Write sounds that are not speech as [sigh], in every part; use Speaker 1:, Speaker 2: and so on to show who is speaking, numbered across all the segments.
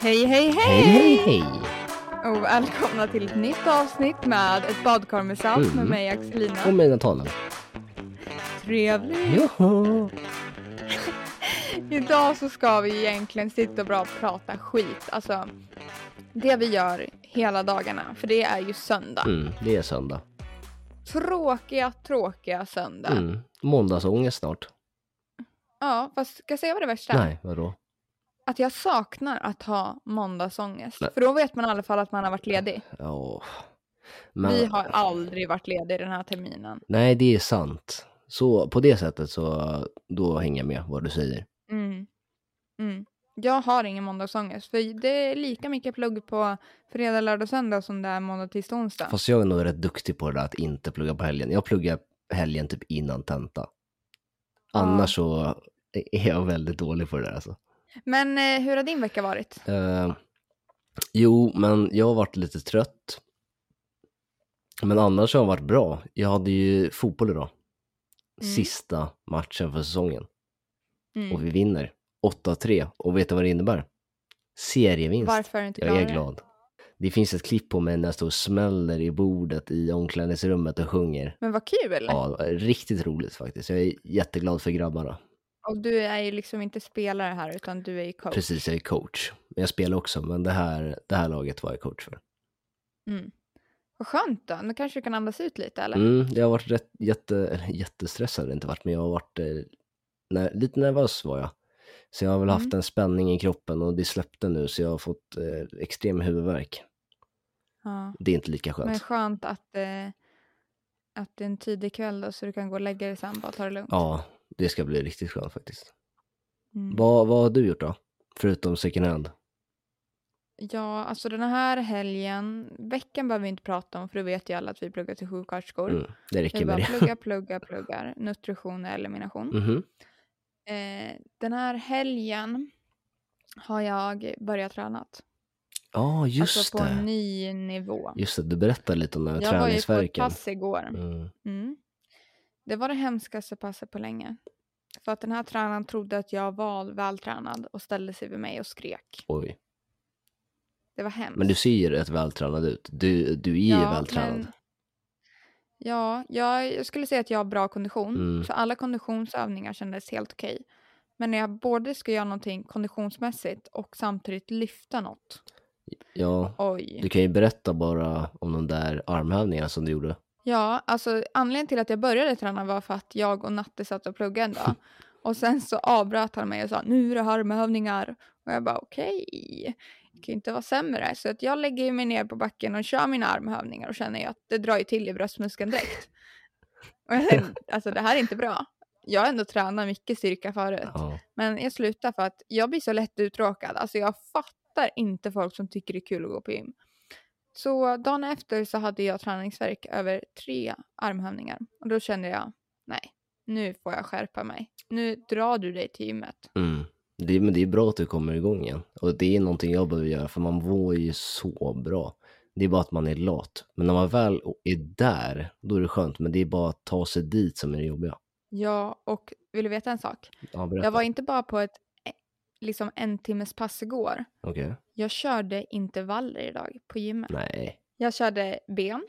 Speaker 1: Hej, hej, hej!
Speaker 2: Hej, hej, hej!
Speaker 1: Och välkomna till ett nytt avsnitt med ett badkar med salt med
Speaker 2: Mm.
Speaker 1: mig Axelina.
Speaker 2: Och med Natalen.
Speaker 1: Trevligt!
Speaker 2: Joho!
Speaker 1: Idag så ska vi egentligen sitta och bara prata skit. Alltså, det vi gör hela dagarna. För det är ju söndag.
Speaker 2: Mm, det är söndag.
Speaker 1: Tråkiga, tråkiga söndag.
Speaker 2: Mm. Måndagsångest snart.
Speaker 1: Ja, fast ska jag säga vad det värsta är?
Speaker 2: Nej, vadå?
Speaker 1: Att jag saknar att ha måndagsångest.
Speaker 2: Nej.
Speaker 1: För då vet man i alla fall att man har varit ledig.
Speaker 2: Ja. Men,
Speaker 1: Vi har aldrig varit ledig den här terminen.
Speaker 2: Nej, det är sant. Så på det sättet så då hänger jag med vad du säger.
Speaker 1: Mm. Mm. Jag har ingen måndagsångest. För det är lika mycket plugg på fredag, lördag, söndag som det är måndag, tisdag, onsdag.
Speaker 2: Fast jag är nog rätt duktig på det där att inte plugga på helgen. Jag pluggar helgen typ innan tenta. Annars så är jag väldigt dålig på det där alltså.
Speaker 1: Men eh, hur har din vecka varit?
Speaker 2: Eh, jo, men jag har varit lite trött. Men annars har jag varit bra. Jag hade ju fotboll idag.
Speaker 1: Mm.
Speaker 2: Sista matchen för säsongen.
Speaker 1: Mm.
Speaker 2: Och vi vinner. 8-3. Och vet du vad det innebär? Serievinst.
Speaker 1: Varför är du inte
Speaker 2: Jag är
Speaker 1: gladare?
Speaker 2: glad. Det finns ett klipp på mig när jag står och smäller i bordet i omklädningsrummet och sjunger.
Speaker 1: Men vad kul!
Speaker 2: Ja, det var riktigt roligt faktiskt. Jag är jätteglad för grabbarna.
Speaker 1: Och du är ju liksom inte spelare här utan du är ju coach.
Speaker 2: Precis, jag är coach. Men Jag spelar också, men det här, det här laget var jag coach för.
Speaker 1: Mm. Vad skönt då. Nu kanske du kan andas ut lite eller?
Speaker 2: Mm, jag har varit rätt, jätte, eller jättestressad, har jag inte varit, men jag har varit eh, ner, lite nervös var jag. Så jag har väl haft
Speaker 1: Mm.
Speaker 2: en spänning i kroppen och det släppte nu så jag har fått eh, extrem huvudvärk.
Speaker 1: Ja.
Speaker 2: Det är inte lika skönt.
Speaker 1: Men skönt att, eh, att det är en tidig kväll då så du kan gå och lägga dig sen bara ta det lugnt.
Speaker 2: Ja, det ska bli riktigt skönt faktiskt.
Speaker 1: Mm.
Speaker 2: Vad, vad har du gjort då? Förutom second hand?
Speaker 1: Ja, alltså den här helgen, veckan behöver vi inte prata om för du vet ju alla att vi pluggar till sjuksköterskor.
Speaker 2: Mm, det räcker
Speaker 1: Jag
Speaker 2: med
Speaker 1: bara
Speaker 2: det. [laughs]
Speaker 1: pluggar, pluggar, pluggar. Nutrition och elimination.
Speaker 2: Mhm.
Speaker 1: Eh, den här helgen har jag börjat träna.
Speaker 2: Ja, just
Speaker 1: alltså på
Speaker 2: det.
Speaker 1: en ny nivå.
Speaker 2: Just det, du berättade lite om den här
Speaker 1: Jag var ju på ett
Speaker 2: träningsvärken.
Speaker 1: pass igår.
Speaker 2: Mm.
Speaker 1: Mm. Det var det hemskaste passet på länge. För att den här tränaren trodde att jag var vältränad och ställde sig vid mig och skrek.
Speaker 2: Oj.
Speaker 1: Det var hemskt.
Speaker 2: Men du ser ju rätt vältränad ut. Du, du är ju
Speaker 1: Ja,
Speaker 2: vältränad.
Speaker 1: men- Ja, jag, jag skulle säga att jag har bra kondition.
Speaker 2: Mm.
Speaker 1: Så alla konditionsövningar kändes helt okej. Men när jag både ska göra någonting konditionsmässigt och samtidigt lyfta något.
Speaker 2: Ja,
Speaker 1: Oj.
Speaker 2: Du kan ju berätta bara om de där armhävningarna som du gjorde.
Speaker 1: Ja, alltså anledningen till att jag började träna var för att jag och Natte satt och pluggade en dag. Och sen så avbröt han mig och sa nu är det armhävningar. Och jag bara okej, det kan ju inte vara sämre. Så att jag lägger ju mig ner på backen och kör mina armhävningar och känner ju att det drar ju till i bröstmuskeln direkt. Och jag tänkte, alltså det här är inte bra. Jag har ändå tränat mycket styrka förut.
Speaker 2: Ja.
Speaker 1: Men jag slutar för att jag blir så lätt uttråkad. Alltså jag fattar inte folk som tycker det är kul att gå på gym. Så dagen efter så hade jag träningsvärk över tre armhävningar. Och då kände jag, nej, nu får jag skärpa mig. Nu drar du dig till gymmet.
Speaker 2: Mm. Det, men det är bra att du kommer igång igen. Och det är någonting jag behöver göra för man mår ju så bra. Det är bara att man är lat. Men när man väl är där, då är det skönt. Men det är bara att ta sig dit som är det jobbiga.
Speaker 1: Ja, och vill du veta en sak?
Speaker 2: Ja, berätta.
Speaker 1: Jag var inte bara på ett eh, liksom en timmes pass igår.
Speaker 2: Okej.
Speaker 1: Jag körde intervaller idag på gymmet.
Speaker 2: Nej.
Speaker 1: Jag körde ben,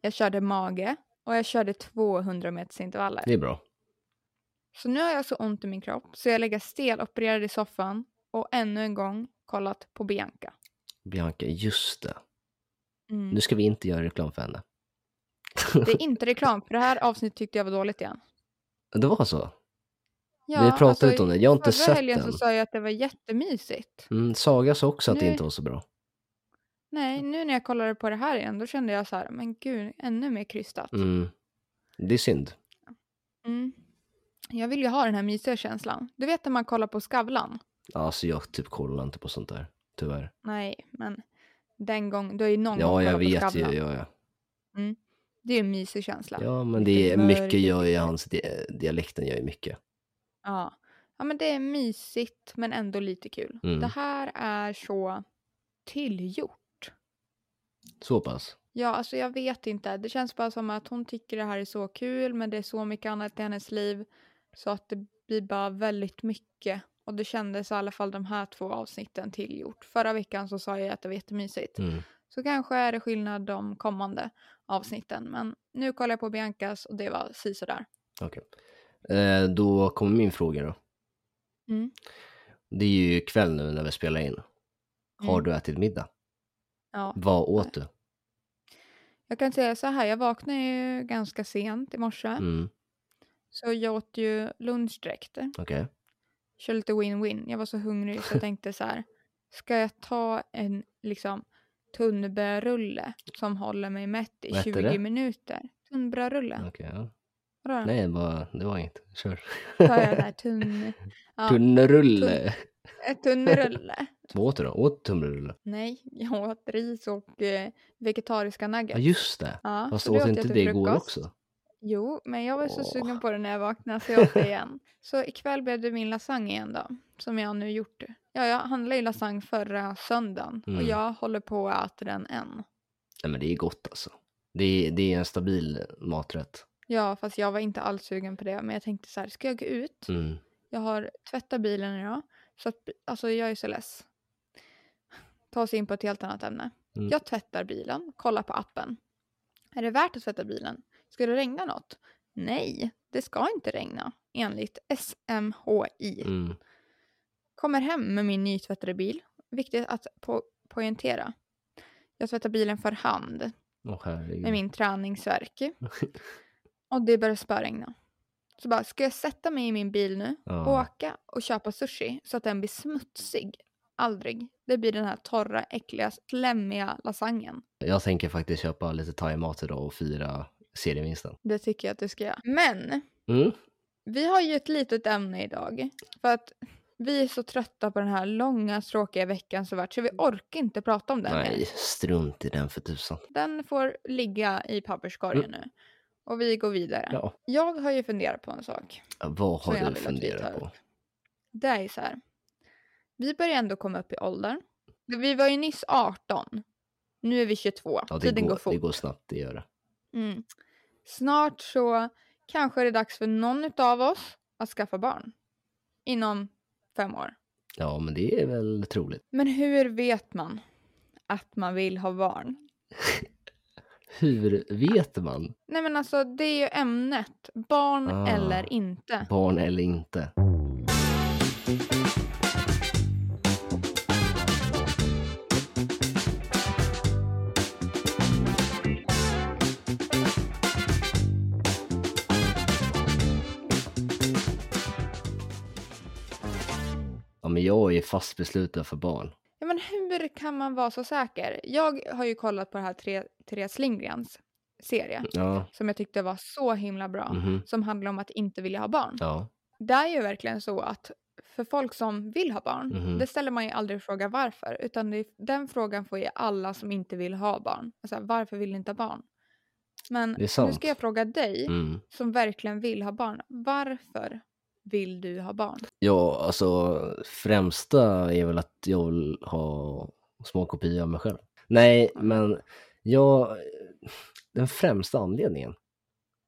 Speaker 1: jag körde mage och jag körde 200 meters intervaller.
Speaker 2: Det är bra.
Speaker 1: Så nu har jag så ont i min kropp så jag lägger stelopererad i soffan och ännu en gång kollat på Bianca.
Speaker 2: Bianca, just det.
Speaker 1: Mm.
Speaker 2: Nu ska vi inte göra reklam för henne.
Speaker 1: Det är inte reklam för det här avsnittet tyckte jag var dåligt igen.
Speaker 2: [laughs]
Speaker 1: alltså,
Speaker 2: Det var så? vi pratade ut om det. Jag har inte
Speaker 1: Förra
Speaker 2: sett
Speaker 1: helgen
Speaker 2: den.
Speaker 1: så sa jag att det var jättemysigt.
Speaker 2: Mm, Saga sa också att det
Speaker 1: Nu-
Speaker 2: inte var så bra.
Speaker 1: Nej, nu när jag kollade på det här igen då kände jag så här, men gud, ännu mer krystat.
Speaker 2: Mm. Det är synd.
Speaker 1: Mm. Jag vill ju ha den här mysiga känslan. Du vet när man kollar på Skavlan?
Speaker 2: Alltså jag typ kollar inte på sånt där. Tyvärr.
Speaker 1: Nej, men den gång, du har ju någon gång
Speaker 2: Ja, jag
Speaker 1: kollat på
Speaker 2: vet ju.
Speaker 1: Skavlan.
Speaker 2: Ja, ja.
Speaker 1: Det är en mysig känsla.
Speaker 2: ja, men
Speaker 1: Lite
Speaker 2: det är
Speaker 1: mörk,
Speaker 2: mycket gör ju hans di- dialekten gör ju mycket.
Speaker 1: Ja. ja, men det är mysigt men ändå lite kul.
Speaker 2: Mm.
Speaker 1: Det här är så tillgjort.
Speaker 2: Så pass.
Speaker 1: Ja, alltså jag vet inte. Det känns bara som att hon tycker det här är så kul men det är så mycket annat i hennes liv så att det blir bara väldigt mycket Och det kändes i alla fall de här två avsnitten tillgjort. Förra veckan så sa jag att det var jättemysigt.
Speaker 2: Mm.
Speaker 1: Så kanske är det skillnad de kommande avsnitten. Men nu kollar jag på Biancas och det var sisådär.
Speaker 2: Okej. Eh, då kommer min fråga då.
Speaker 1: Mm.
Speaker 2: Det är ju kväll nu när vi spelar in. Har
Speaker 1: Mm.
Speaker 2: du ätit middag?
Speaker 1: Ja.
Speaker 2: Vad åt du?
Speaker 1: Jag kan säga så här, jag vaknade ju ganska sent i morse.
Speaker 2: Mm.
Speaker 1: Så jag åt ju lunch direkt.
Speaker 2: Okej.
Speaker 1: Kör lite win-win. Jag var så hungrig
Speaker 2: [laughs]
Speaker 1: så jag tänkte så här. Ska jag ta en liksom tunnbrödsrulle som håller mig mätt
Speaker 2: Vad
Speaker 1: i
Speaker 2: heter
Speaker 1: 20
Speaker 2: det?
Speaker 1: minuter? Tunnbrödsrulle.
Speaker 2: Okej, ja.
Speaker 1: Vadå då?
Speaker 2: Nej, det var, det var inget. Kör.
Speaker 1: Tar jag
Speaker 2: [laughs]
Speaker 1: där tunn... Ja,
Speaker 2: Tunnrulle.
Speaker 1: ett tunnrulle.
Speaker 2: Vad åt du då? Åt tunnrulle?
Speaker 1: Nej, jag åt ris och eh, vegetariska
Speaker 2: Ja,
Speaker 1: nuggets.
Speaker 2: just det.
Speaker 1: Ja,
Speaker 2: Fast
Speaker 1: så det
Speaker 2: åt
Speaker 1: åt jag
Speaker 2: inte
Speaker 1: till
Speaker 2: det igår
Speaker 1: frukost.
Speaker 2: också?
Speaker 1: Jo, men jag var så
Speaker 2: Åh.
Speaker 1: sugen på det när jag vaknade så jag åt det
Speaker 2: [laughs]
Speaker 1: igen. Så ikväll blev det min lasagne igen då, som jag nu gjort. Ja, jag handlade ju lasagne förra söndagen och
Speaker 2: Mm.
Speaker 1: jag håller på att äta den än.
Speaker 2: Nej, men det är gott alltså. Det är, det är en stabil maträtt.
Speaker 1: Ja, fast jag var inte alls sugen på det, men jag tänkte så här, ska jag gå ut?
Speaker 2: Mm.
Speaker 1: Jag har tvättat bilen idag, så att, alltså jag är så less. [laughs] Ta oss in på ett helt annat ämne.
Speaker 2: Mm.
Speaker 1: Jag tvättar bilen, kollar på appen. Är det värt att tvätta bilen? Ska det regna något? Nej, det ska inte regna, enligt SMHI.
Speaker 2: Mm.
Speaker 1: Kommer hem med min nytvättade bil. Viktigt att po- poängtera. Jag tvättar bilen för hand
Speaker 2: Åh
Speaker 1: med
Speaker 2: herregud.
Speaker 1: min
Speaker 2: [laughs]
Speaker 1: träningsvärk. Och det börjar spöregna. Så bara, ska jag sätta mig i min bil nu,
Speaker 2: Ja.
Speaker 1: åka och köpa sushi så att den blir smutsig? Aldrig. Det blir den här torra, äckliga, slemmiga lasagnen.
Speaker 2: Jag tänker faktiskt köpa lite thaimat idag och fira serievinsten.
Speaker 1: Det tycker jag att du ska göra. Men,
Speaker 2: Mm.
Speaker 1: vi har ju ett litet ämne idag. För att vi är så trötta på den här långa, tråkiga veckan som varit så vi orkar inte prata om den mer.
Speaker 2: Nej, strunt i den för tusan.
Speaker 1: Den får ligga i papperskorgen nu. Och vi går vidare.
Speaker 2: Mm. Ja.
Speaker 1: Jag har ju funderat på en sak.
Speaker 2: Vad
Speaker 1: Som jag
Speaker 2: har du
Speaker 1: vill att vi tar
Speaker 2: funderat på?
Speaker 1: upp. Det är ju så här. Vi börjar ändå komma upp i åldern. Vi var ju nyss 18. Nu är vi 22.
Speaker 2: Ja, det,
Speaker 1: Tiden
Speaker 2: går,
Speaker 1: går fort.
Speaker 2: det går snabbt, det gör det.
Speaker 1: Mm. Snart så kanske är det dags för någon av oss att skaffa barn. Inom fem år.
Speaker 2: Ja, men det är väl troligt.
Speaker 1: Men hur vet man att man vill ha barn?
Speaker 2: Hur vet man?
Speaker 1: Nej men alltså det är ju ämnet. Barn
Speaker 2: Ah.
Speaker 1: eller inte.
Speaker 2: Barn eller inte? Ja, men jag är fast besluten för barn.
Speaker 1: Ja, men hur kan man vara så säker? Jag har ju kollat på det här Tre- Therese Lindgrens serie
Speaker 2: Ja,
Speaker 1: som jag tyckte var så himla bra
Speaker 2: mhm,
Speaker 1: som handlar om att inte vilja ha barn.
Speaker 2: ja,
Speaker 1: Det är ju verkligen så att för folk som vill ha barn,
Speaker 2: Mhm.
Speaker 1: det ställer man ju aldrig frågan varför, utan det, den frågan får ju alla som inte vill ha barn. Alltså, varför vill ni inte ha barn? Men
Speaker 2: det är
Speaker 1: nu
Speaker 2: sant.
Speaker 1: ska jag fråga dig
Speaker 2: Mm.
Speaker 1: som verkligen vill ha barn, varför vill du ha barn?
Speaker 2: Ja, alltså främsta är väl att jag vill ha små kopior av mig själv. Nej, men jag... Den främsta anledningen?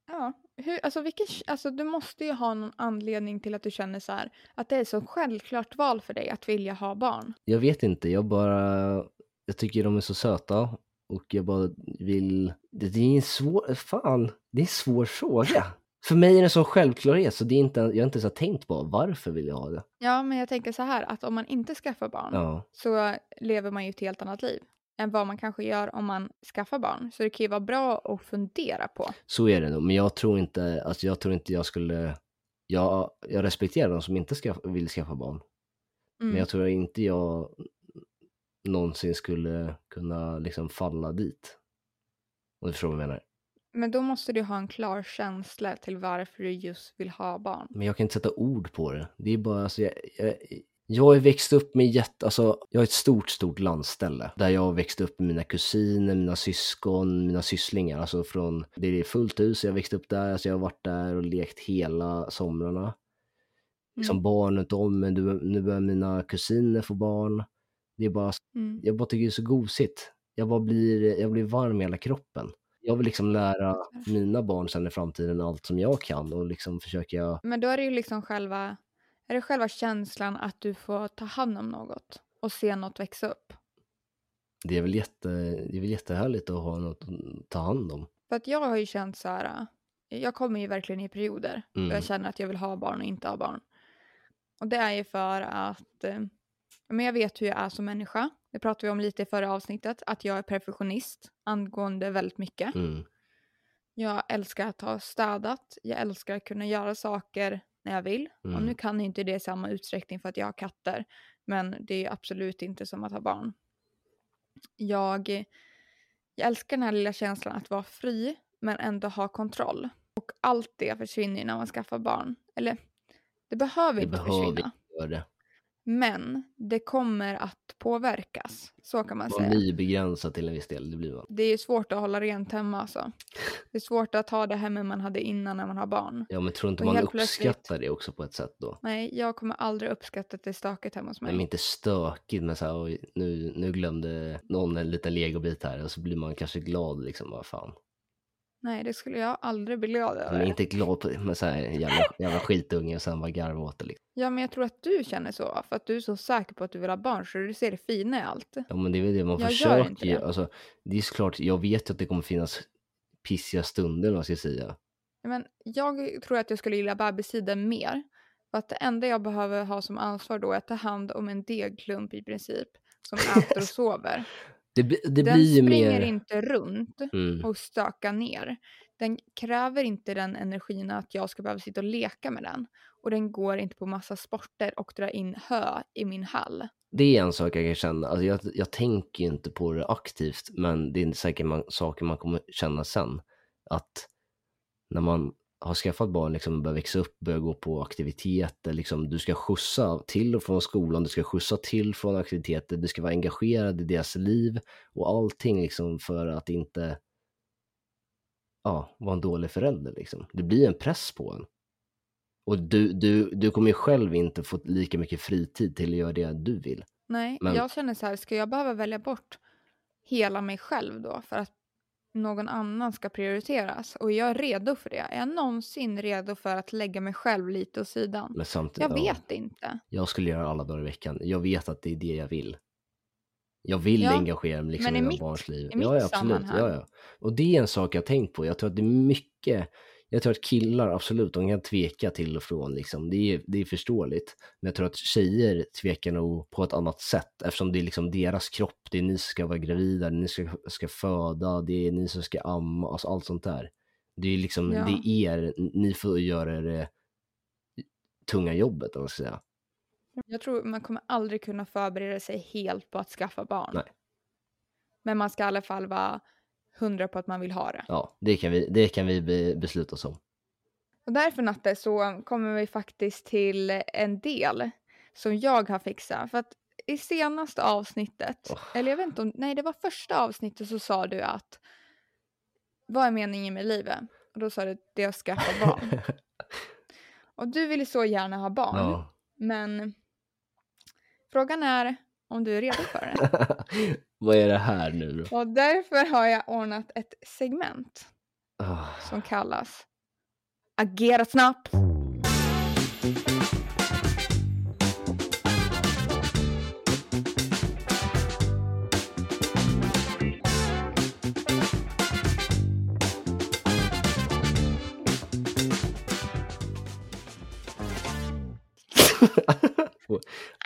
Speaker 1: Ja, hur, alltså, vilken, alltså du måste ju ha någon anledning till att du känner så här att det är så självklart val för dig att vilja ha barn.
Speaker 2: Jag vet inte, jag bara... Jag tycker de är så söta och jag bara vill... Det det är en svår... Fan, det är en svår fråga. För mig är det som självklarhet, så det är inte, jag har inte ens har tänkt på varför vill jag ha det.
Speaker 1: Ja, men jag tänker så här att om man inte skaffar barn
Speaker 2: Ja,
Speaker 1: så lever man ju ett helt annat liv än vad man kanske gör om man skaffar barn. Så det kan ju vara bra att fundera på.
Speaker 2: så är det nog. Men jag tror inte, alltså jag tror inte jag skulle... Jag, jag respekterar de som inte ska, vill skaffa barn.
Speaker 1: Mm.
Speaker 2: Men jag tror inte jag någonsin skulle kunna liksom falla dit. Om du förstår vad jag menar.
Speaker 1: Men då måste du ha en klar känsla till varför du just vill ha barn.
Speaker 2: Men jag kan inte sätta ord på det. Det är bara, alltså, jag, jag, jag har ju växt upp med jätte, alltså jag har ett stort, stort landställe. Där jag har växt upp med mina kusiner, mina syskon, mina sysslingar. Alltså från, det är fullt hus, jag växte upp där, alltså jag har varit där och lekt hela somrarna. Som
Speaker 1: Mm.
Speaker 2: barn utav men nu- nu börjar mina kusiner få barn. Det är bara
Speaker 1: Mm.
Speaker 2: jag bara tycker det är så gosigt. Jag bara blir, jag blir varm i hela kroppen. Jag vill liksom lära mina barn sen i framtiden allt som jag kan och liksom försöka,
Speaker 1: Men då är det ju liksom själva Är det själva känslan att du får ta hand om något och se något växa upp?
Speaker 2: Det är väl, jätte, det är väl jättehärligt att ha något att ta hand om.
Speaker 1: För att jag har ju känt så här, äh, jag kommer ju verkligen i perioder
Speaker 2: Mm.
Speaker 1: då jag känner att jag vill ha barn och inte ha barn. Och det är ju för att eh, men jag vet hur jag är som människa. Det pratade vi om lite i förra avsnittet, att jag är perfektionist angående väldigt mycket.
Speaker 2: Mm.
Speaker 1: Jag älskar att ha städat, jag älskar att kunna göra saker när jag vill. Och
Speaker 2: Mm.
Speaker 1: nu kan jag inte det i samma utsträckning för att jag har katter, men det är ju absolut inte som att ha barn. Jag, jag älskar den här lilla känslan att vara fri, men ändå ha kontroll. Och allt det försvinner ju när man skaffar barn. Eller, det behöver
Speaker 2: Det
Speaker 1: inte
Speaker 2: behöver
Speaker 1: försvinna,
Speaker 2: Gör det.
Speaker 1: men det kommer att påverkas. Så kan man
Speaker 2: Man
Speaker 1: säga.
Speaker 2: blir begränsad till en viss del, det blir man.
Speaker 1: Det är ju svårt att hålla rent hemma alltså. Det är svårt att ha det hemma man hade innan när man har barn.
Speaker 2: Ja men tror inte
Speaker 1: Och
Speaker 2: man
Speaker 1: helt plötsligt-
Speaker 2: uppskattar det också på ett sätt då?
Speaker 1: Nej, jag kommer aldrig uppskatta att det är stökigt hemma hos
Speaker 2: Nej.
Speaker 1: mig.
Speaker 2: Men inte stökigt men såhär, oj, nu, nu glömde någon en liten legobit här och så blir man kanske glad liksom, vad fan.
Speaker 1: Nej, det skulle jag aldrig bli glad över.
Speaker 2: Man är inte glad på men såhär jävla, jävla skitunge och sen bara garva åt det liksom.
Speaker 1: Ja, men jag tror att du känner så. För att du är så säker på att du vill ha barn så du ser det fina i allt.
Speaker 2: Ja men det är väl det man
Speaker 1: Jag gör inte
Speaker 2: försöker ju.
Speaker 1: det.
Speaker 2: Alltså, det är såklart, jag vet ju att det kommer finnas pissiga stunder vad ska jag säga.
Speaker 1: Men jag tror att jag skulle gilla bebistiden mer. För att det enda jag behöver ha som ansvar då är att ta hand om en degklump i princip. Som
Speaker 2: [laughs]
Speaker 1: äter och sover.
Speaker 2: Det, bli- det
Speaker 1: Den
Speaker 2: blir ju
Speaker 1: springer
Speaker 2: mer...
Speaker 1: inte runt
Speaker 2: Mm,
Speaker 1: och stökar ner. Den kräver inte den energin att jag ska behöva sitta och leka med den. Och den går inte på massa sporter och drar in hö i min hall.
Speaker 2: det är en sak jag kan känna, alltså, jag, jag tänker ju inte på det aktivt men det är säkert man, saker man kommer känna sen. Att när man har skaffat barn, liksom börjar växa upp, börjar gå på aktiviteter, liksom, du ska skjutsa till och från skolan, du ska skjutsa till från aktiviteter, du ska vara engagerad i deras liv och allting liksom för att inte ja, vara en dålig förälder. Liksom. Det blir en press på en. Och du, du, du kommer ju själv inte få lika mycket fritid till att göra det du vill.
Speaker 1: Nej,
Speaker 2: Men-
Speaker 1: jag känner så här, ska jag behöva välja bort hela mig själv då för att någon annan ska prioriteras? Och jag är redo för det. Är jag någonsin redo för att lägga mig själv lite åt sidan?
Speaker 2: Men samtidigt,
Speaker 1: Jag
Speaker 2: ja,
Speaker 1: vet inte.
Speaker 2: jag skulle göra alla dagar i veckan. Jag vet att det är det jag vill. Jag vill
Speaker 1: Ja,
Speaker 2: engagera mig liksom
Speaker 1: men
Speaker 2: i
Speaker 1: i
Speaker 2: mina
Speaker 1: mitt-
Speaker 2: barns liv.
Speaker 1: i mitt
Speaker 2: ja, ja, absolut.
Speaker 1: sammanhang.
Speaker 2: Ja, ja. Och det är en sak jag har tänkt på. Jag tror att det är mycket, jag tror att killar absolut, de kan tveka till och från liksom. Det är, det är förståeligt. Men jag tror att tjejer tvekar nog på ett annat sätt eftersom det är liksom deras kropp. Det är ni som ska vara gravida, det är ni som ska, ska föda, det är ni som ska amma, alltså allt sånt där. Det är liksom,
Speaker 1: Ja.
Speaker 2: det är er, ni får göra det tunga jobbet, om man ska säga.
Speaker 1: Jag tror man kommer aldrig kunna förbereda sig helt på att skaffa barn.
Speaker 2: Nej.
Speaker 1: Men man ska i alla fall vara hundra på att man vill ha det.
Speaker 2: Ja, det kan vi, det kan vi be, besluta oss om.
Speaker 1: Och därför Natte så kommer vi faktiskt till en del som jag har fixat. För att i senaste avsnittet,
Speaker 2: Åh.
Speaker 1: eller jag vet inte om, nej det var första avsnittet så sa du att vad är meningen med livet? Och då sa du det är att
Speaker 2: [laughs]
Speaker 1: skaffa barn. Och du ville så gärna ha barn,
Speaker 2: ja.
Speaker 1: men frågan är om du är redo för det.
Speaker 2: [laughs] Vad är det här nu då?
Speaker 1: Och därför har jag ordnat ett segment
Speaker 2: Ah. [laughs]
Speaker 1: som kallas Agera snabbt!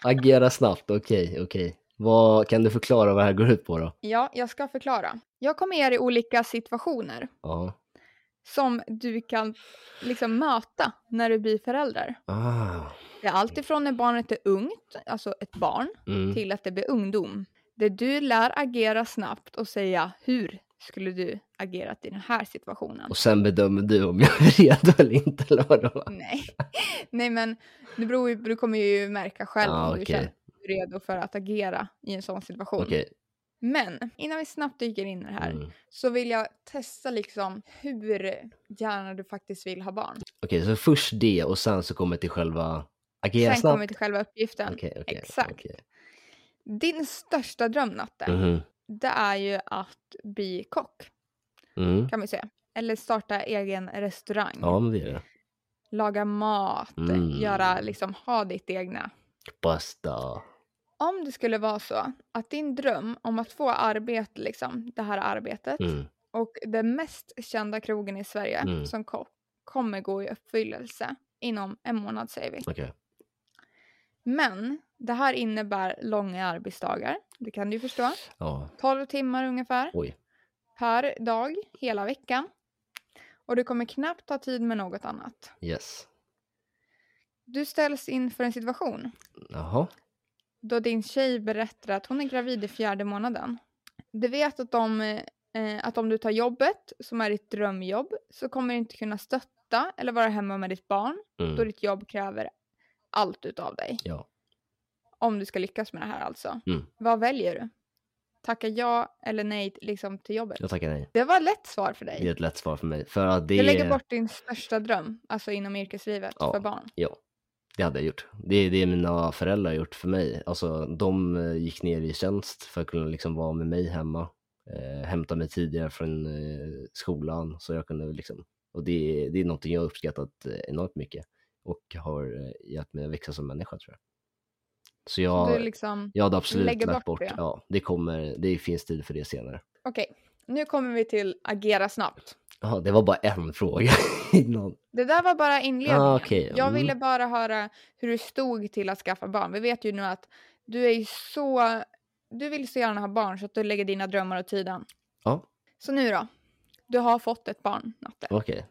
Speaker 2: Agera snabbt, okej, okej. Vad, kan du förklara vad det här går ut på då?
Speaker 1: Ja, jag ska förklara. Jag kommer ge dig olika situationer
Speaker 2: Ja.
Speaker 1: som du kan liksom möta när du blir förälder.
Speaker 2: Ah.
Speaker 1: Det är alltifrån när barnet är ungt, alltså ett barn,
Speaker 2: Mm.
Speaker 1: till att det blir ungdom. Där du lär agera snabbt och säga hur skulle du agerat i den här situationen?
Speaker 2: Och sen bedömer du om jag är redo eller inte eller vadå?
Speaker 1: [laughs] Nej, Nej men det beror, ju- du kommer ju märka själv
Speaker 2: Ja,
Speaker 1: om du
Speaker 2: Ah, okej.
Speaker 1: känner dig redo för att agera i en sån situation.
Speaker 2: Okej.
Speaker 1: Men innan vi snabbt dyker in i det här
Speaker 2: Mm. Okej,
Speaker 1: så vill jag testa liksom hur gärna du faktiskt vill ha barn.
Speaker 2: så först det och sen så kommer till själva agera
Speaker 1: Sen kommer vi
Speaker 2: snabbt.
Speaker 1: till själva uppgiften.
Speaker 2: Okej, okej.
Speaker 1: Exakt.
Speaker 2: okej.
Speaker 1: Din största dröm, Natte,
Speaker 2: Mhm.
Speaker 1: det är ju att bli kock,
Speaker 2: Mm.
Speaker 1: kan vi säga. Eller starta egen restaurang.
Speaker 2: Ja, men det är det.
Speaker 1: laga mat,
Speaker 2: Mm.
Speaker 1: göra, liksom ha ditt egna.
Speaker 2: Basta.
Speaker 1: Om det skulle vara så att din dröm om att få arbete, liksom, det här arbetet
Speaker 2: Mm.
Speaker 1: och den mest kända krogen i Sverige
Speaker 2: Mm.
Speaker 1: som ko- kommer gå i uppfyllelse inom en månad säger vi.
Speaker 2: Okej.
Speaker 1: Men det här innebär långa arbetsdagar, det kan du ju förstå.
Speaker 2: Ja.
Speaker 1: 12 timmar ungefär
Speaker 2: Oj.
Speaker 1: per dag hela veckan. Och du kommer knappt ha tid med något annat.
Speaker 2: Yes.
Speaker 1: Du ställs inför en situation
Speaker 2: Jaha.
Speaker 1: då din tjej berättar att hon är gravid i fjärde månaden. Du vet att om, eh, att om du tar jobbet, som är ditt drömjobb, så kommer du inte kunna stötta eller vara hemma med ditt barn, då
Speaker 2: Mm.
Speaker 1: ditt jobb kräver allt utav dig.
Speaker 2: Ja.
Speaker 1: Om du ska lyckas med det här alltså.
Speaker 2: Mm.
Speaker 1: Vad väljer du? Tacka ja eller nej liksom, till jobbet?
Speaker 2: Jag tackar nej.
Speaker 1: Det var ett lätt svar för
Speaker 2: Det är
Speaker 1: dig.
Speaker 2: ett lätt svar för mig. För att det
Speaker 1: Du lägger
Speaker 2: är-
Speaker 1: bort din största dröm, alltså inom yrkeslivet,
Speaker 2: Ja.
Speaker 1: för barn.
Speaker 2: Ja, det hade jag gjort. Det är det mina föräldrar har gjort för mig. Alltså, de eh, gick ner i tjänst för att kunna liksom vara med mig hemma. Eh, hämta mig tidigare från eh, skolan så jag kunde liksom. Och det, det är någonting jag har uppskattat eh, enormt mycket och har eh, hjälpt mig att växa som människa tror jag. Så jag,
Speaker 1: Så du liksom,
Speaker 2: jag hade absolut
Speaker 1: lägger
Speaker 2: lagt
Speaker 1: bort
Speaker 2: bort.
Speaker 1: det.
Speaker 2: Ja, det kommer. Det finns tid för det senare.
Speaker 1: okej, nu kommer vi till agera snabbt.
Speaker 2: Ja, det var bara en fråga [laughs] innan.
Speaker 1: Det där var bara inledningen.
Speaker 2: Ah, okej,
Speaker 1: Jag
Speaker 2: mm.
Speaker 1: ville bara höra hur du stod till att skaffa barn. Vi vet ju nu att du är ju så... Du vill så gärna ha barn så att du lägger dina drömmar åt sidan.
Speaker 2: Ja.
Speaker 1: Så nu då? Du har fått ett barn, Natte.
Speaker 2: Okej.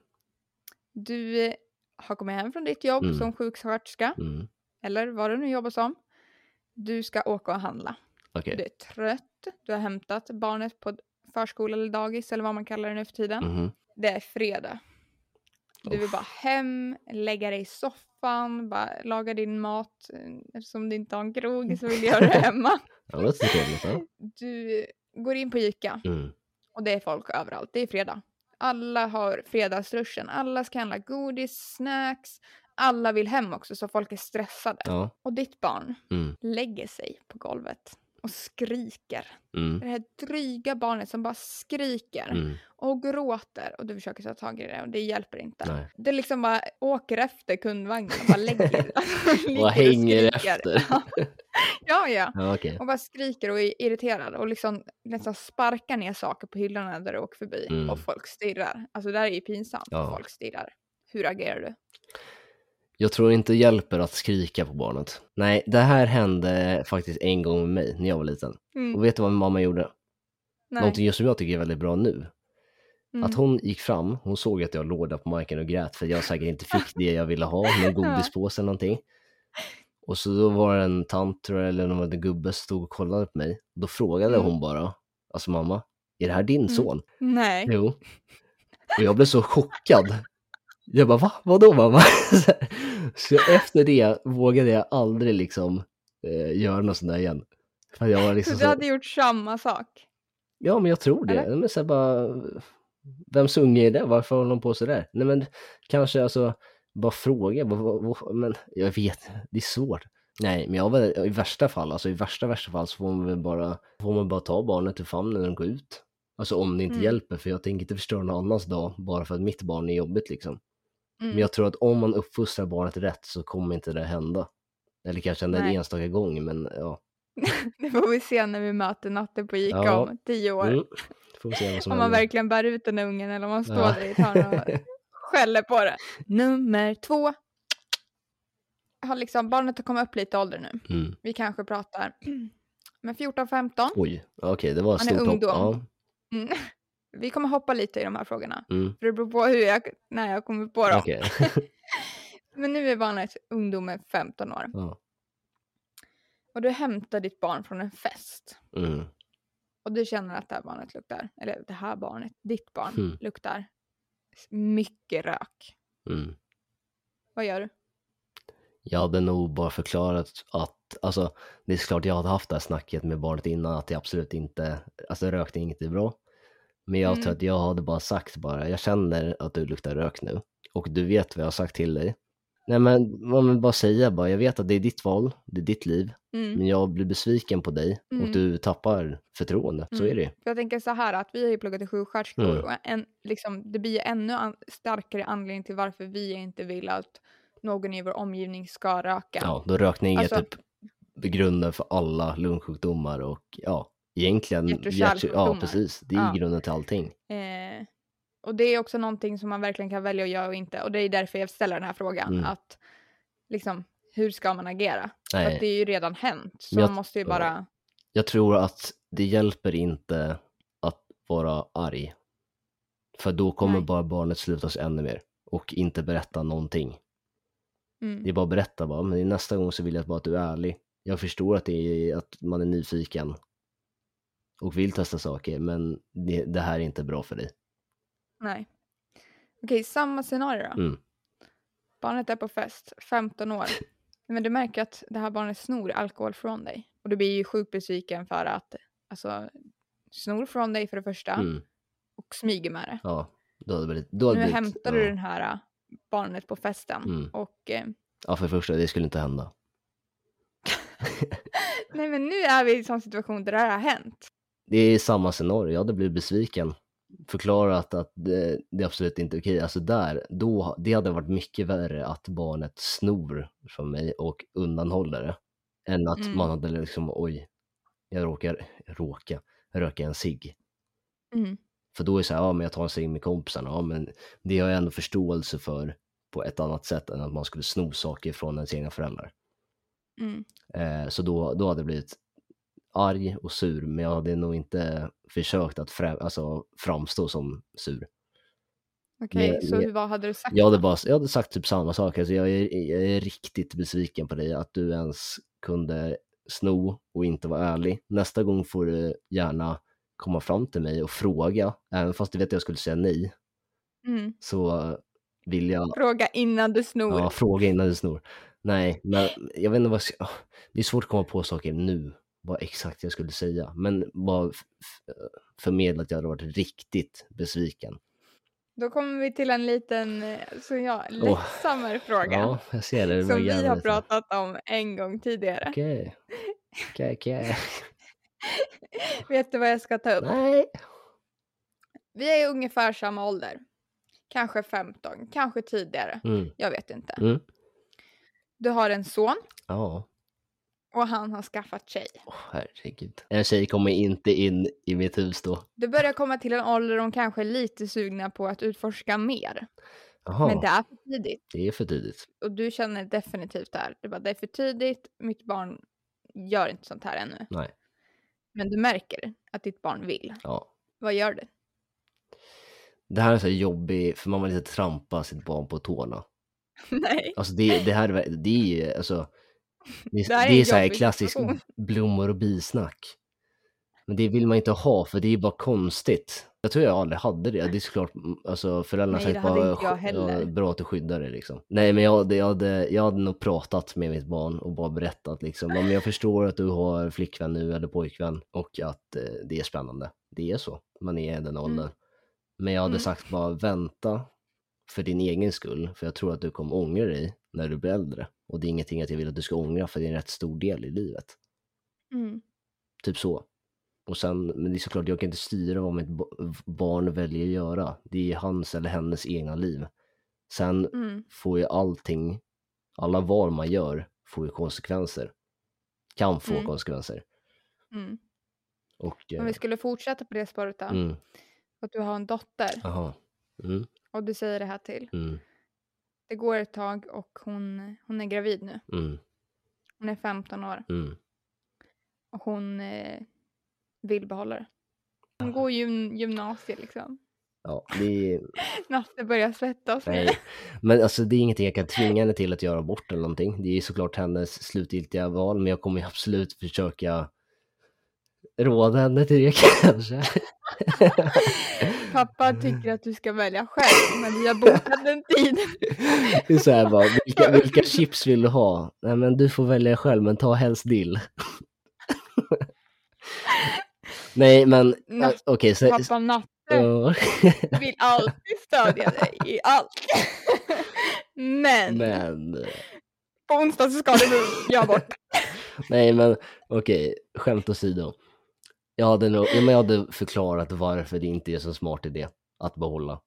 Speaker 1: Du eh, har kommit hem från ditt jobb
Speaker 2: Mm.
Speaker 1: som sjuksköterska,
Speaker 2: Mm.
Speaker 1: eller vad du nu jobbar som. Du ska åka och handla.
Speaker 2: Okej.
Speaker 1: Du är trött, du har hämtat barnet på förskola eller dagis eller vad man kallar det nu för tiden.
Speaker 2: Mhm.
Speaker 1: Det är fredag. Du vill
Speaker 2: Uff.
Speaker 1: bara hem, lägga dig i soffan, bara laga din mat. eh, Eftersom du inte har en krog så vill du göra
Speaker 2: [laughs]
Speaker 1: det hemma.
Speaker 2: Ja, det låter trevligt. Ja.
Speaker 1: Du eh, går in på Ica
Speaker 2: Mm.
Speaker 1: och det är folk överallt. Det är fredag. Alla har fredagsruschen. Alla ska handla godis, snacks. Alla vill hem också så folk är stressade.
Speaker 2: Ja.
Speaker 1: Och ditt barn
Speaker 2: Mm.
Speaker 1: lägger sig på golvet och skriker.
Speaker 2: Mm.
Speaker 1: Det här dryga barnet som bara skriker
Speaker 2: Mm.
Speaker 1: och gråter och du försöker ta tag i det och det hjälper inte.
Speaker 2: Nej.
Speaker 1: Det liksom bara åker efter kundvagnen och bara
Speaker 2: [laughs]
Speaker 1: lägger ligger
Speaker 2: Och hänger
Speaker 1: skriker.
Speaker 2: efter.
Speaker 1: Ja, ja.
Speaker 2: [laughs] Ja, okej.
Speaker 1: Och bara skriker och är irriterad och liksom nästan sparkar ner saker på hyllorna där du åker förbi
Speaker 2: Mm.
Speaker 1: och folk stirrar. Alltså det här är ju pinsamt.
Speaker 2: Ja.
Speaker 1: Folk stirrar. Hur agerar du?
Speaker 2: Jag tror inte det hjälper att skrika på barnet. Nej, det här hände faktiskt en gång med mig när jag var liten.
Speaker 1: Mm,
Speaker 2: Och vet du vad min mamma gjorde?
Speaker 1: nej.
Speaker 2: Någonting som jag tycker är väldigt bra nu.
Speaker 1: Mm.
Speaker 2: Att hon gick fram, hon såg att jag låg där på marken och grät för jag säkert inte fick det jag ville ha,
Speaker 1: [laughs]
Speaker 2: någon godispåse eller någonting. Och så då var det en tant tror jag, eller någon gubbe som stod och kollade på mig. Då frågade
Speaker 1: Mm.
Speaker 2: hon bara, alltså mamma, är det här din son? [laughs]
Speaker 1: nej.
Speaker 2: Jo. Och jag blev så chockad. Jag bara, va? Vadå mamma? [laughs] Så här. Så efter det vågade jag aldrig liksom eh, göra något sånt där igen. För jag var
Speaker 1: Så
Speaker 2: liksom
Speaker 1: du
Speaker 2: så,
Speaker 1: hade gjort samma sak?
Speaker 2: ja men jag tror det.
Speaker 1: Eller?
Speaker 2: Men så här bara, vems unge är det? Varför håller de på sådär? Nej men kanske alltså, bara fråga. Vad- vad- vad- Men jag vet, det är svårt. Nej, men jag var, i värsta fall, alltså i värsta värsta fall så får man väl bara, får man bara ta barnet ur famnen och gå ut. Alltså om det inte
Speaker 1: Mm.
Speaker 2: hjälper, för jag tänker inte förstöra någon annans dag bara för att mitt barn är jobbigt liksom.
Speaker 1: Mm.
Speaker 2: Men jag tror att om man uppfostrar barnet rätt så kommer inte det hända. Eller kanske hända en
Speaker 1: Nej.
Speaker 2: enstaka gång, men ja.
Speaker 1: [laughs] Det får vi se när vi möter Natte på Ica
Speaker 2: Ja.
Speaker 1: om tio år.
Speaker 2: Mm. Får vi se vad som
Speaker 1: Om man
Speaker 2: händer.
Speaker 1: verkligen bär ut den där ungen eller om man står
Speaker 2: Ja.
Speaker 1: där i ett hörn
Speaker 2: [laughs]
Speaker 1: och skäller på det. Nummer två. Har liksom, barnet har kommit upp lite i ålder nu.
Speaker 2: Mm.
Speaker 1: Vi kanske pratar [clears throat] men 14-15.
Speaker 2: Oj, okej, det var en
Speaker 1: Man är
Speaker 2: stor
Speaker 1: ung
Speaker 2: topp.
Speaker 1: då.
Speaker 2: Ja.
Speaker 1: Mm. Vi kommer hoppa lite i de här frågorna.
Speaker 2: Mm.
Speaker 1: För det beror på hur jag, när jag kommer på dem.
Speaker 2: Okej.
Speaker 1: Men nu är barnet ungdomen 15 år.
Speaker 2: Ja.
Speaker 1: Och du hämtar ditt barn från en fest.
Speaker 2: Mm.
Speaker 1: Och du känner att det här barnet luktar, eller det här barnet, ditt barn,
Speaker 2: Mm.
Speaker 1: luktar mycket rök.
Speaker 2: Mm.
Speaker 1: Vad gör du?
Speaker 2: Jag hade nog bara förklarat att, alltså det är klart jag hade haft det här snacket med barnet innan att det absolut inte, alltså rökning inte är bra. Men jag tror
Speaker 1: Mm.
Speaker 2: att jag hade bara sagt bara, jag känner att du luktar rök nu och du vet vad jag har sagt till dig. Nej men, man vill bara säga bara, jag vet att det är ditt val, det är ditt liv,
Speaker 1: Mm.
Speaker 2: men jag blir besviken på dig och
Speaker 1: Mm.
Speaker 2: du tappar förtroende. Så
Speaker 1: Mm.
Speaker 2: är det ju.
Speaker 1: För jag tänker så här att vi har ju pluggat till sjuksköterskor
Speaker 2: Mm.
Speaker 1: och en, liksom, det blir ju ännu an- starkare anledning till varför vi inte vill att någon i vår omgivning ska röka.
Speaker 2: Ja, då rökning är
Speaker 1: Alltså-
Speaker 2: typ grunden för alla lungsjukdomar och ja, egentligen
Speaker 1: Hjärt- och
Speaker 2: Ja,
Speaker 1: kärlsjukdomar.
Speaker 2: precis. Det är
Speaker 1: Ja.
Speaker 2: ju grunden till allting.
Speaker 1: Eh, och det är också någonting som man verkligen kan välja att göra och inte. Och det är därför jag ställer den här frågan.
Speaker 2: Mm.
Speaker 1: Att liksom, hur ska man agera? För att det
Speaker 2: Nej,
Speaker 1: är ju redan hänt. Så
Speaker 2: Men jag-
Speaker 1: man måste ju bara...
Speaker 2: jag tror att det hjälper inte att vara arg. För då kommer
Speaker 1: Nej.
Speaker 2: bara barnet slutas ännu mer och inte berätta någonting.
Speaker 1: Mm,
Speaker 2: Det är bara att berätta bara, men nästa gång så vill jag bara att du är ärlig. Jag förstår att, det är, att man är nyfiken och vill testa saker, men det, det här är inte bra för dig.
Speaker 1: nej. Okej, samma scenario då.
Speaker 2: Mm.
Speaker 1: Barnet är på fest, 15
Speaker 2: [laughs]
Speaker 1: år. Men du märker att det här barnet snor alkohol från dig. Och du blir ju sjukt besviken för att alltså, snor från dig för det första
Speaker 2: Mm.
Speaker 1: och smyger med det.
Speaker 2: Ja, då hade det blivit... Då hade
Speaker 1: nu
Speaker 2: det blivit
Speaker 1: hämtar
Speaker 2: ja.
Speaker 1: du den här ä, barnet på festen
Speaker 2: Mm.
Speaker 1: och eh,
Speaker 2: Ja, för det första, det skulle inte hända.
Speaker 1: nej men nu är vi i en sån situation där det här har hänt.
Speaker 2: Det är samma scenario, jag hade blivit besviken. Förklarat att det, det är absolut inte okej. Alltså där, då, det hade varit mycket värre att barnet snor från mig och undanhåller det. Än att
Speaker 1: Mm.
Speaker 2: man hade liksom, oj, jag råkar, råka, röka en cigg.
Speaker 1: Mm.
Speaker 2: För då är det så här, ja men jag tar en cigg med kompisarna. Ja men det har jag ändå förståelse för på ett annat sätt än att man skulle sno saker från ens egna föräldrar.
Speaker 1: Mm.
Speaker 2: Eh, så då, då hade jag blivit arg och sur, men jag hade nog inte försökt att frä, alltså, framstå som sur.
Speaker 1: Okej,
Speaker 2: Men-
Speaker 1: så
Speaker 2: men-
Speaker 1: hur- vad hade du sagt?
Speaker 2: Jag hade, bara, jag hade sagt typ samma sak, alltså, jag, är, jag är riktigt besviken på dig att du ens kunde sno och inte vara ärlig. Nästa gång får du gärna komma fram till mig och fråga, även fast du vet att jag skulle säga nej,
Speaker 1: Mm.
Speaker 2: så vill jag
Speaker 1: Fråga innan du snor.
Speaker 2: Ja, fråga innan du snor. Nej, men jag vet inte vad jag ska... Det är svårt att komma på saker nu, vad exakt jag skulle säga. Men bara f- f- förmedla att jag hade varit riktigt besviken.
Speaker 1: Då kommer vi till en liten, eh, så ja, lättsammare fråga.
Speaker 2: Ja, jag ser det. det.
Speaker 1: som vi
Speaker 2: börjar
Speaker 1: har
Speaker 2: lite.
Speaker 1: pratat om en gång tidigare.
Speaker 2: Okej. Okej,
Speaker 1: [laughs]
Speaker 2: okej.
Speaker 1: Vet du vad jag ska ta upp?
Speaker 2: Nej.
Speaker 1: Vi är ungefär samma ålder. Kanske 15, kanske tidigare.
Speaker 2: Mm.
Speaker 1: Jag vet inte.
Speaker 2: Mm.
Speaker 1: Du har en son
Speaker 2: Ja,
Speaker 1: och han har skaffat tjej.
Speaker 2: Åh, herregud. En tjej kommer inte in i mitt hus då.
Speaker 1: Du börjar komma till en ålder de kanske är lite sugna på att utforska mer. Men det är
Speaker 2: Jaha,
Speaker 1: för tidigt.
Speaker 2: det är för tidigt.
Speaker 1: Och du känner definitivt det här. Du bara, det är för tidigt. Mitt barn gör inte sånt här ännu.
Speaker 2: Nej.
Speaker 1: Men du märker att ditt barn vill.
Speaker 2: Ja,
Speaker 1: Vad gör du?
Speaker 2: Det här är så här jobbigt, för man vill inte trampa sitt barn på tårna.
Speaker 1: Nej.
Speaker 2: Alltså det, det här är- det är ju,
Speaker 1: [laughs]
Speaker 2: alltså, det,
Speaker 1: Det
Speaker 2: det
Speaker 1: här
Speaker 2: är,
Speaker 1: är en
Speaker 2: så här
Speaker 1: jobbig
Speaker 2: klassisk
Speaker 1: situation.
Speaker 2: blommor och bisnack. Men det vill man inte ha, för det är bara konstigt. Jag tror jag aldrig hade det. Det är såklart, mm, alltså föräldrarna
Speaker 1: Nej,
Speaker 2: har
Speaker 1: det
Speaker 2: sagt
Speaker 1: hade
Speaker 2: bara,
Speaker 1: inte jag
Speaker 2: "Sk-
Speaker 1: heller."
Speaker 2: bra att du skyddar dig liksom. Nej men jag, hade- jag, hade, jag hade nog pratat med mitt barn och bara berättat liksom, "Ja, men jag förstår att du har flickvän nu eller pojkvän och att eh, det är spännande. Det är så, man är i den åldern. Men jag hade
Speaker 1: Mm.
Speaker 2: sagt bara vänta för din egen skull, för jag tror att du kommer ångra dig när du blir äldre. Och det är ingenting att jag vill att du ska ångra, för det är en rätt stor del i livet.
Speaker 1: Mm.
Speaker 2: Typ så. Och sen, men det är såklart, jag kan inte styra vad mitt ba- barn väljer att göra. Det är hans eller hennes egna liv. Sen
Speaker 1: Mm.
Speaker 2: får ju allting, alla val man gör, får ju konsekvenser. Kan få
Speaker 1: Mm.
Speaker 2: konsekvenser.
Speaker 1: Mm.
Speaker 2: Och...
Speaker 1: Om
Speaker 2: Eh,
Speaker 1: vi skulle fortsätta på det spåret då.
Speaker 2: mm,
Speaker 1: Att du har en dotter
Speaker 2: aha. Mm,
Speaker 1: och du säger det här till.
Speaker 2: mm,
Speaker 1: Det går ett tag och hon, hon är gravid nu.
Speaker 2: mm,
Speaker 1: Hon är 15 år
Speaker 2: mm.
Speaker 1: och hon eh, vill behålla det. Hon går gym, gymnasiet liksom. [laughs]
Speaker 2: Ja, det är...
Speaker 1: Nasse börjar svettas nu.
Speaker 2: Nej. Men alltså det är ingenting jag kan tvinga henne till att göra bort eller någonting. Det är såklart hennes slutgiltiga val, men jag kommer ju [laughs] absolut försöka råda henne till det [laughs] kanske.
Speaker 1: Pappa tycker att du ska välja själv men vi har bokat en tid.
Speaker 2: [laughs] Det är så här bara, vilka, vilka chips vill du ha? Nej men du får välja själv, men ta helst dill. [laughs] Nej men,
Speaker 1: Natt-
Speaker 2: eh, okej, så,
Speaker 1: Pappa Natte
Speaker 2: Ja.
Speaker 1: Jag vill alltid stödja dig i [laughs] allt. Men,
Speaker 2: Men,
Speaker 1: på onsdag så ska du göra bort.
Speaker 2: nej men okej, skämt åsido. Jag hade, nog, ja, men jag hade förklarat varför det inte är så smart idé att behålla.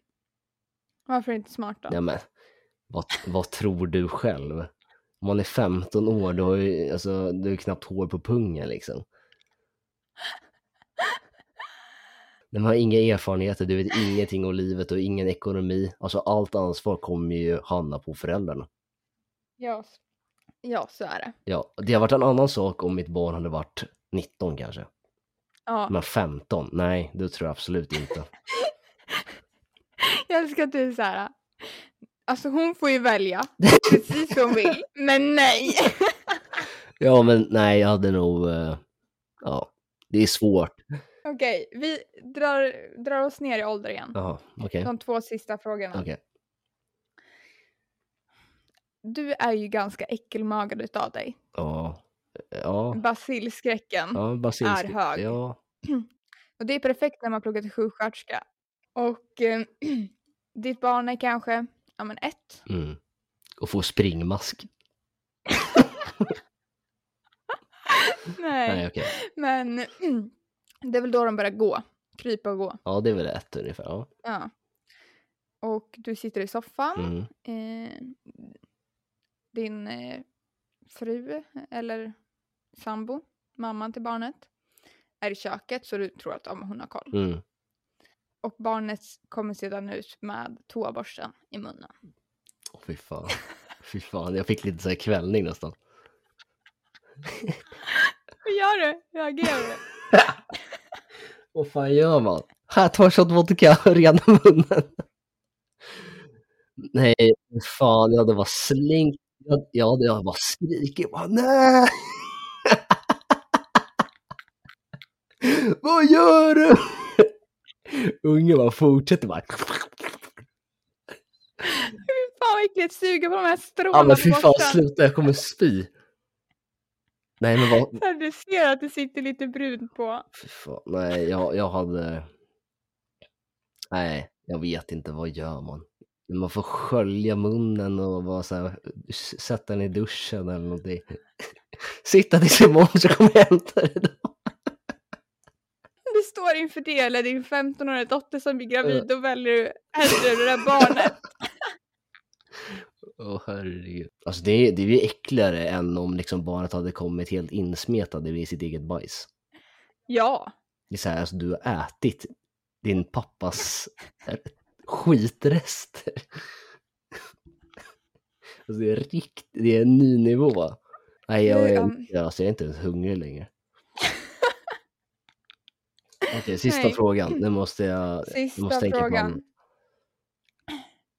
Speaker 1: [laughs] Varför inte smart då?
Speaker 2: Ja, men, vad, vad tror du själv? Om man är 15 år, då har ju, alltså, du har ju knappt hår på pungen liksom. Men man har inga erfarenheter, du vet ingenting om livet och ingen ekonomi. Alltså allt ansvar kommer ju hamna på föräldrarna.
Speaker 1: Ja, s- ja så är det.
Speaker 2: Ja, det har varit en annan sak om mitt barn hade varit 19 kanske.
Speaker 1: Ja.
Speaker 2: Men 15, nej, det tror jag absolut inte.
Speaker 1: Jag älskar att du är så här. Alltså hon får ju
Speaker 2: [laughs]
Speaker 1: välja precis hur hon vill, men nej.
Speaker 2: Ja, men nej, jag hade nog... eh, Ja, det är svårt.
Speaker 1: Okej, vi drar, drar oss ner i ålder igen.
Speaker 2: Jaha, okej.
Speaker 1: De två sista frågorna.
Speaker 2: Okej.
Speaker 1: Du är ju ganska äckelmagad utav dig.
Speaker 2: Ja. Ja.
Speaker 1: Basilskräcken.
Speaker 2: Ja, basilsk.
Speaker 1: är hög.
Speaker 2: Ja,
Speaker 1: Och det är perfekt när man pluggar till sjuksköterska. Och eh, [clears throat] ditt barn är kanske, ja men ett.
Speaker 2: mm. Och få springmask.
Speaker 1: Nej,
Speaker 2: Nej, okej.
Speaker 1: men [clears throat] det är väl då de börjar gå. Krypa och gå.
Speaker 2: Ja, det är väl ett ungefär. Ja.
Speaker 1: Ja. Och du sitter i soffan.
Speaker 2: Mm.
Speaker 1: eh, din eh, fru eller sambo, mamman till barnet, är i köket så du tror att ja, men hon har koll.
Speaker 2: Mm.
Speaker 1: Och barnet kommer sedan ut med toaborsten i munnen.
Speaker 2: Åh, fy fan. Fy fan, jag fick lite så här kvällning nästan.
Speaker 1: Hur gör du? Hur agerar du?
Speaker 2: Vad fan gör man? Här, ta en shot vodka och rena munnen. Nej, fy fan, jag hade bara slängt. Jag, jag hade jag hade bara skrikit. Bara, Nej! [laughs] Vad gör du? Ungen bara fortsätter bara.
Speaker 1: Fan vad äckligt, suga på de här stråna
Speaker 2: Ja men
Speaker 1: på
Speaker 2: fy fan
Speaker 1: borsten.
Speaker 2: sluta, jag kommer spy. Nej men vad,
Speaker 1: Så här, Du ser att det sitter lite brunt på.
Speaker 2: fy fan, nej jag, jag hade... Nej, jag vet inte, vad gör man? Men Man får skölja munnen och bara så här, s- sätta den i duschen eller någonting. [laughs] Sitta tills imorgon så kommer jag hämta det.
Speaker 1: Du står inför det, eller din 15-åriga dotter som blir gravid,
Speaker 2: Eh.
Speaker 1: då väljer du hellre det där barnet.
Speaker 2: Åh herregud. Alltså det, är- det är ju äckligare än om liksom barnet hade kommit helt insmetade i sitt eget bajs.
Speaker 1: Ja.
Speaker 2: Det är så här, alltså, du har ätit din pappas eh, skitrester. [laughs] Alltså, det är rikt, det är en ny nivå. Nej, jag
Speaker 1: Nu,
Speaker 2: är,
Speaker 1: um,
Speaker 2: jag, alltså, jag är inte ens
Speaker 1: [laughs]
Speaker 2: hungrig längre. Okej, sista
Speaker 1: Nej.
Speaker 2: frågan. Nu måste jag...
Speaker 1: Sista
Speaker 2: måste tänka på
Speaker 1: frågan.
Speaker 2: en-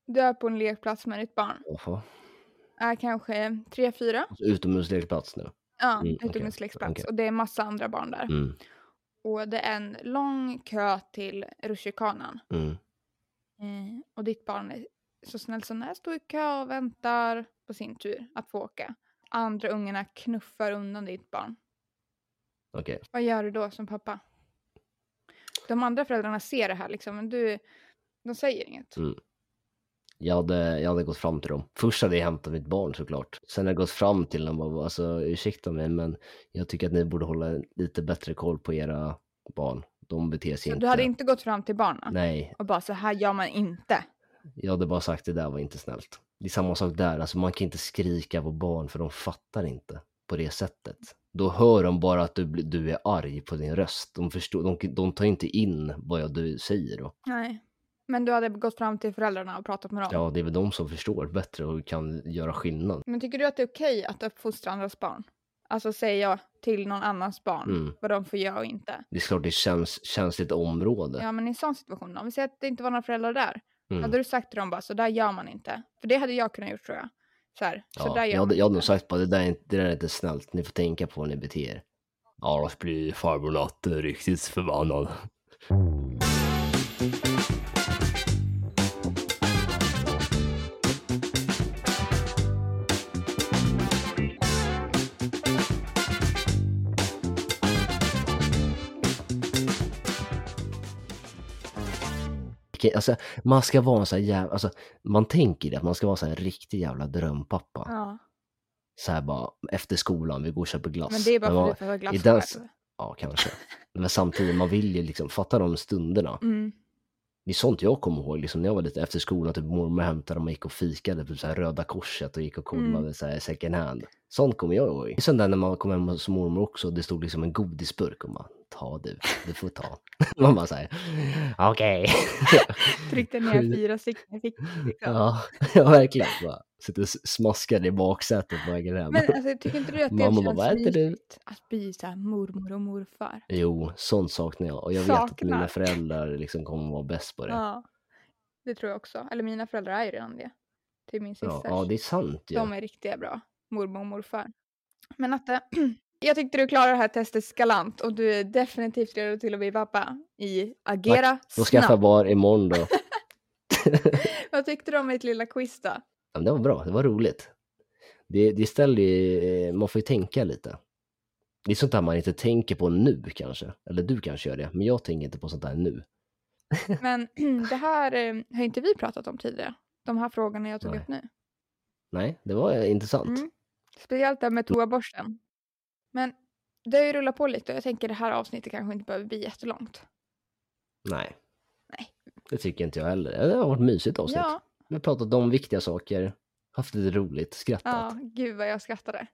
Speaker 1: Du är på en lekplats med ditt barn.
Speaker 2: Jaha.
Speaker 1: Är kanske 3-4.
Speaker 2: Alltså, utomhuslekplats nu.
Speaker 1: Ja,
Speaker 2: Mm, okej,
Speaker 1: utomhuslekplats.
Speaker 2: okej.
Speaker 1: Och det är massa andra barn där.
Speaker 2: Mm,
Speaker 1: Och det är en lång kö till rutschkanan.
Speaker 2: mm,
Speaker 1: Eh, och ditt barn är så snäll som det är, står i kö och väntar på sin tur att få åka. Andra ungarna knuffar undan ditt barn.
Speaker 2: okej.
Speaker 1: Vad gör du då som pappa? De andra föräldrarna ser det här liksom, men du, de säger inget.
Speaker 2: Mm. Jag hade, jag hade gått fram till dem. Först hade jag hämtat mitt barn såklart. Sen hade jag gått fram till dem och bara, alltså ursäkta mig men jag tycker att ni borde hålla lite bättre koll på era barn. De beter sig
Speaker 1: Så
Speaker 2: inte.
Speaker 1: du hade inte gått fram till barnen
Speaker 2: Nej,
Speaker 1: och bara så här gör man inte.
Speaker 2: jag hade bara sagt det där var inte snällt. Det är samma sak där, alltså man kan inte skrika på barn för de fattar inte på det sättet. Då hör de bara att du, blir- du är arg på din röst. De, förstår, de, de tar inte in vad jag- du säger då.
Speaker 1: Nej. Men du hade gått fram till föräldrarna och pratat med dem.
Speaker 2: Ja, det är väl de som förstår bättre och kan göra skillnad.
Speaker 1: Men tycker du att det är okej att uppfostra andras barn? Alltså säger jag till någon annans barn
Speaker 2: Mm.
Speaker 1: vad de får göra och inte.
Speaker 2: Det är klart det känns känsligt område.
Speaker 1: Ja men i en sån situation, om vi säger att det inte var några föräldrar där.
Speaker 2: Mm.
Speaker 1: Hade du sagt till dem bara så där gör man inte. För det hade jag kunnat gjort tror jag. Så här, så
Speaker 2: Ja,
Speaker 1: där gör
Speaker 2: jag, hade,
Speaker 1: man
Speaker 2: jag hade nog
Speaker 1: inte.
Speaker 2: sagt bara det där, är inte- det där är inte snällt, ni får tänka på hur ni beter er. Ja, annars blir farbror Natte riktigt förbannad. vilken, alltså, man ska vara en sån här jävla, alltså, man tänker det, att man ska vara en sån här riktig jävla drömpappa.
Speaker 1: Ja.
Speaker 2: Så här bara, efter skolan, vi går och köper glass.
Speaker 1: Men det är bara för
Speaker 2: man,
Speaker 1: att du får glass
Speaker 2: i den-
Speaker 1: själv.
Speaker 2: Ja, kanske. Men samtidigt, man vill ju liksom, fatta de stunderna.
Speaker 1: Mm.
Speaker 2: Det är sånt jag kommer ihåg, liksom när jag var lite efter skolan, typ mormor hämtade och man gick och fikade på så här Röda Korset och gick och kollade
Speaker 1: Mm.
Speaker 2: så här second hand. Sånt kommer jag ihåg. Sen där när man kom hem hos mormor också, det stod liksom en godisburk och man, ta du, du får ta. [laughs] man bara såhär,
Speaker 1: [laughs]
Speaker 2: okej.
Speaker 1: Tryckte
Speaker 2: Skit. [laughs]
Speaker 1: ner fyra stycken i fickan. liksom.
Speaker 2: Ja, [laughs] ja verkligen. Bara, sitter och smaskar i baksätet på vägen hem.
Speaker 1: Men alltså, tycker inte du att det
Speaker 2: Mamma bara,
Speaker 1: känns
Speaker 2: "Vad äter du?"
Speaker 1: mysigt att bli så här mormor och morfar?
Speaker 2: Jo, sånt saknar jag. Och jag vet att
Speaker 1: Saknar.
Speaker 2: mina föräldrar liksom kommer vara bäst på det. Ja,
Speaker 1: Ja, det tror jag också. Eller mina föräldrar är ju redan det. Till min
Speaker 2: ja,
Speaker 1: systers.
Speaker 2: det är sant ju.
Speaker 1: De är riktigt bra. Mormor och morfar. Men Natte, [clears throat] jag tyckte du klarade det här testet galant och du är definitivt redo till att bli pappa i Agera
Speaker 2: Då skaffar jag
Speaker 1: snabbt.
Speaker 2: barn imorgon då.
Speaker 1: Vad tyckte du om mitt lilla quiz
Speaker 2: [laughs]
Speaker 1: då?
Speaker 2: Ja, men det var bra, det var roligt. Det, det ställer ju, man får ju tänka lite. Det är sånt där man inte tänker på nu kanske. Eller du kanske gör det, men jag tänker inte på sånt där nu.
Speaker 1: Men [clears throat] det här eh, har inte vi pratat om tidigare. De här frågorna jag tog
Speaker 2: Nej.
Speaker 1: upp nu.
Speaker 2: Nej, det var eh, intressant.
Speaker 1: Mm. Speciellt det här med toaborsten. Men det har ju rullat på lite och jag tänker det här avsnittet kanske inte behöver bli jättelångt.
Speaker 2: Nej.
Speaker 1: Nej.
Speaker 2: Det tycker inte jag heller. Det har varit mysigt avsnitt.
Speaker 1: Ja,
Speaker 2: Vi har pratat om viktiga saker, haft lite roligt, skrattat.
Speaker 1: ja, gud vad jag skrattade.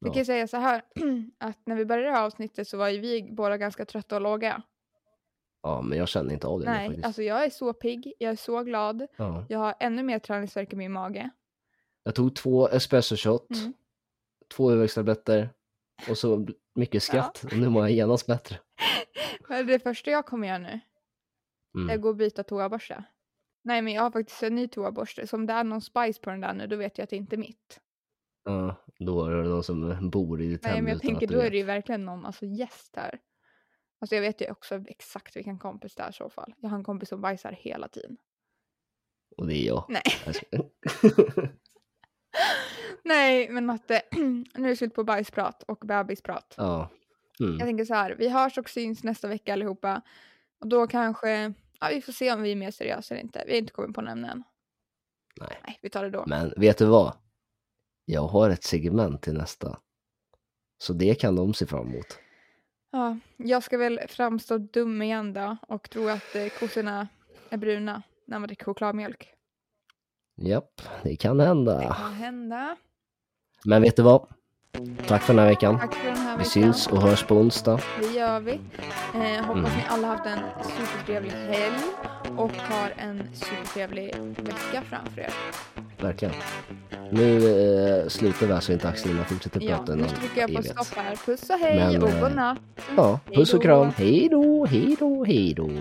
Speaker 1: Vi
Speaker 2: Ja.
Speaker 1: kan ju säga så här [clears throat] att när vi började det här avsnittet så var ju vi båda ganska trötta och låga.
Speaker 2: Ja, men jag känner inte av det nu
Speaker 1: Nej,
Speaker 2: faktiskt.
Speaker 1: alltså jag är så pigg, jag är så glad,
Speaker 2: Ja.
Speaker 1: jag har ännu mer träningsvärk i min mage.
Speaker 2: Jag tog två espresso shot,
Speaker 1: Mm.
Speaker 2: två huvudvärkstabletter och så bl- mycket skratt. Och nu mår jag genast bättre.
Speaker 1: Men det första jag kommer göra nu är att
Speaker 2: Mm.
Speaker 1: gå och byta toaborste. Nej men jag har faktiskt en ny toaborste, så om det är någon spice på den där nu då vet jag att det inte är mitt.
Speaker 2: Ja, då är det någon som bor i ditt
Speaker 1: Nej
Speaker 2: hem
Speaker 1: men jag
Speaker 2: utan att
Speaker 1: tänker
Speaker 2: du
Speaker 1: då är
Speaker 2: vet.
Speaker 1: det ju verkligen någon alltså, gäst här. Alltså jag vet ju också exakt vilken kompis det är i så fall. Jag har en kompis som bajsar hela tiden.
Speaker 2: Och det är jag.
Speaker 1: Nej.
Speaker 2: Jag skojar.
Speaker 1: [laughs] Nej men Natte, [clears throat] nu är det slut på bajsprat och bebisprat.
Speaker 2: [laughs] ja.
Speaker 1: Jag
Speaker 2: Mm.
Speaker 1: tänker så här, vi hörs och syns nästa vecka allihopa. Och då kanske, ja vi får se om vi är mer seriösa eller inte. Vi har inte kommit på nämnen än.
Speaker 2: Nej.
Speaker 1: Nej, vi tar det då.
Speaker 2: Men vet du vad? Jag har ett segment till nästa. Så det kan de se fram emot.
Speaker 1: Ja, jag ska väl framstå dum igen då och tro att eh, kossorna är bruna när man dricker chokladmjölk.
Speaker 2: Japp, det kan
Speaker 1: Det
Speaker 2: hända.
Speaker 1: kan hända.
Speaker 2: Men vet du vad? Tack för den här veckan.
Speaker 1: Tack för den här
Speaker 2: Vi
Speaker 1: veckan.
Speaker 2: syns och hörs på onsdag.
Speaker 1: Det gör vi. Eh, hoppas
Speaker 2: Mm.
Speaker 1: ni alla haft en supertrevlig helg och har en supertrevlig vecka framför er.
Speaker 2: Verkligen. Nu eh, slutar vi alltså inte Axelina fortsätter
Speaker 1: Ja,
Speaker 2: prata
Speaker 1: nu
Speaker 2: någon
Speaker 1: trycker jag på
Speaker 2: evighet.
Speaker 1: stopp här. Puss och hej
Speaker 2: Men,
Speaker 1: och
Speaker 2: eh,
Speaker 1: godnatt.
Speaker 2: Ja, puss och
Speaker 1: Hej då.
Speaker 2: kram. Hej då, hej då, hej då.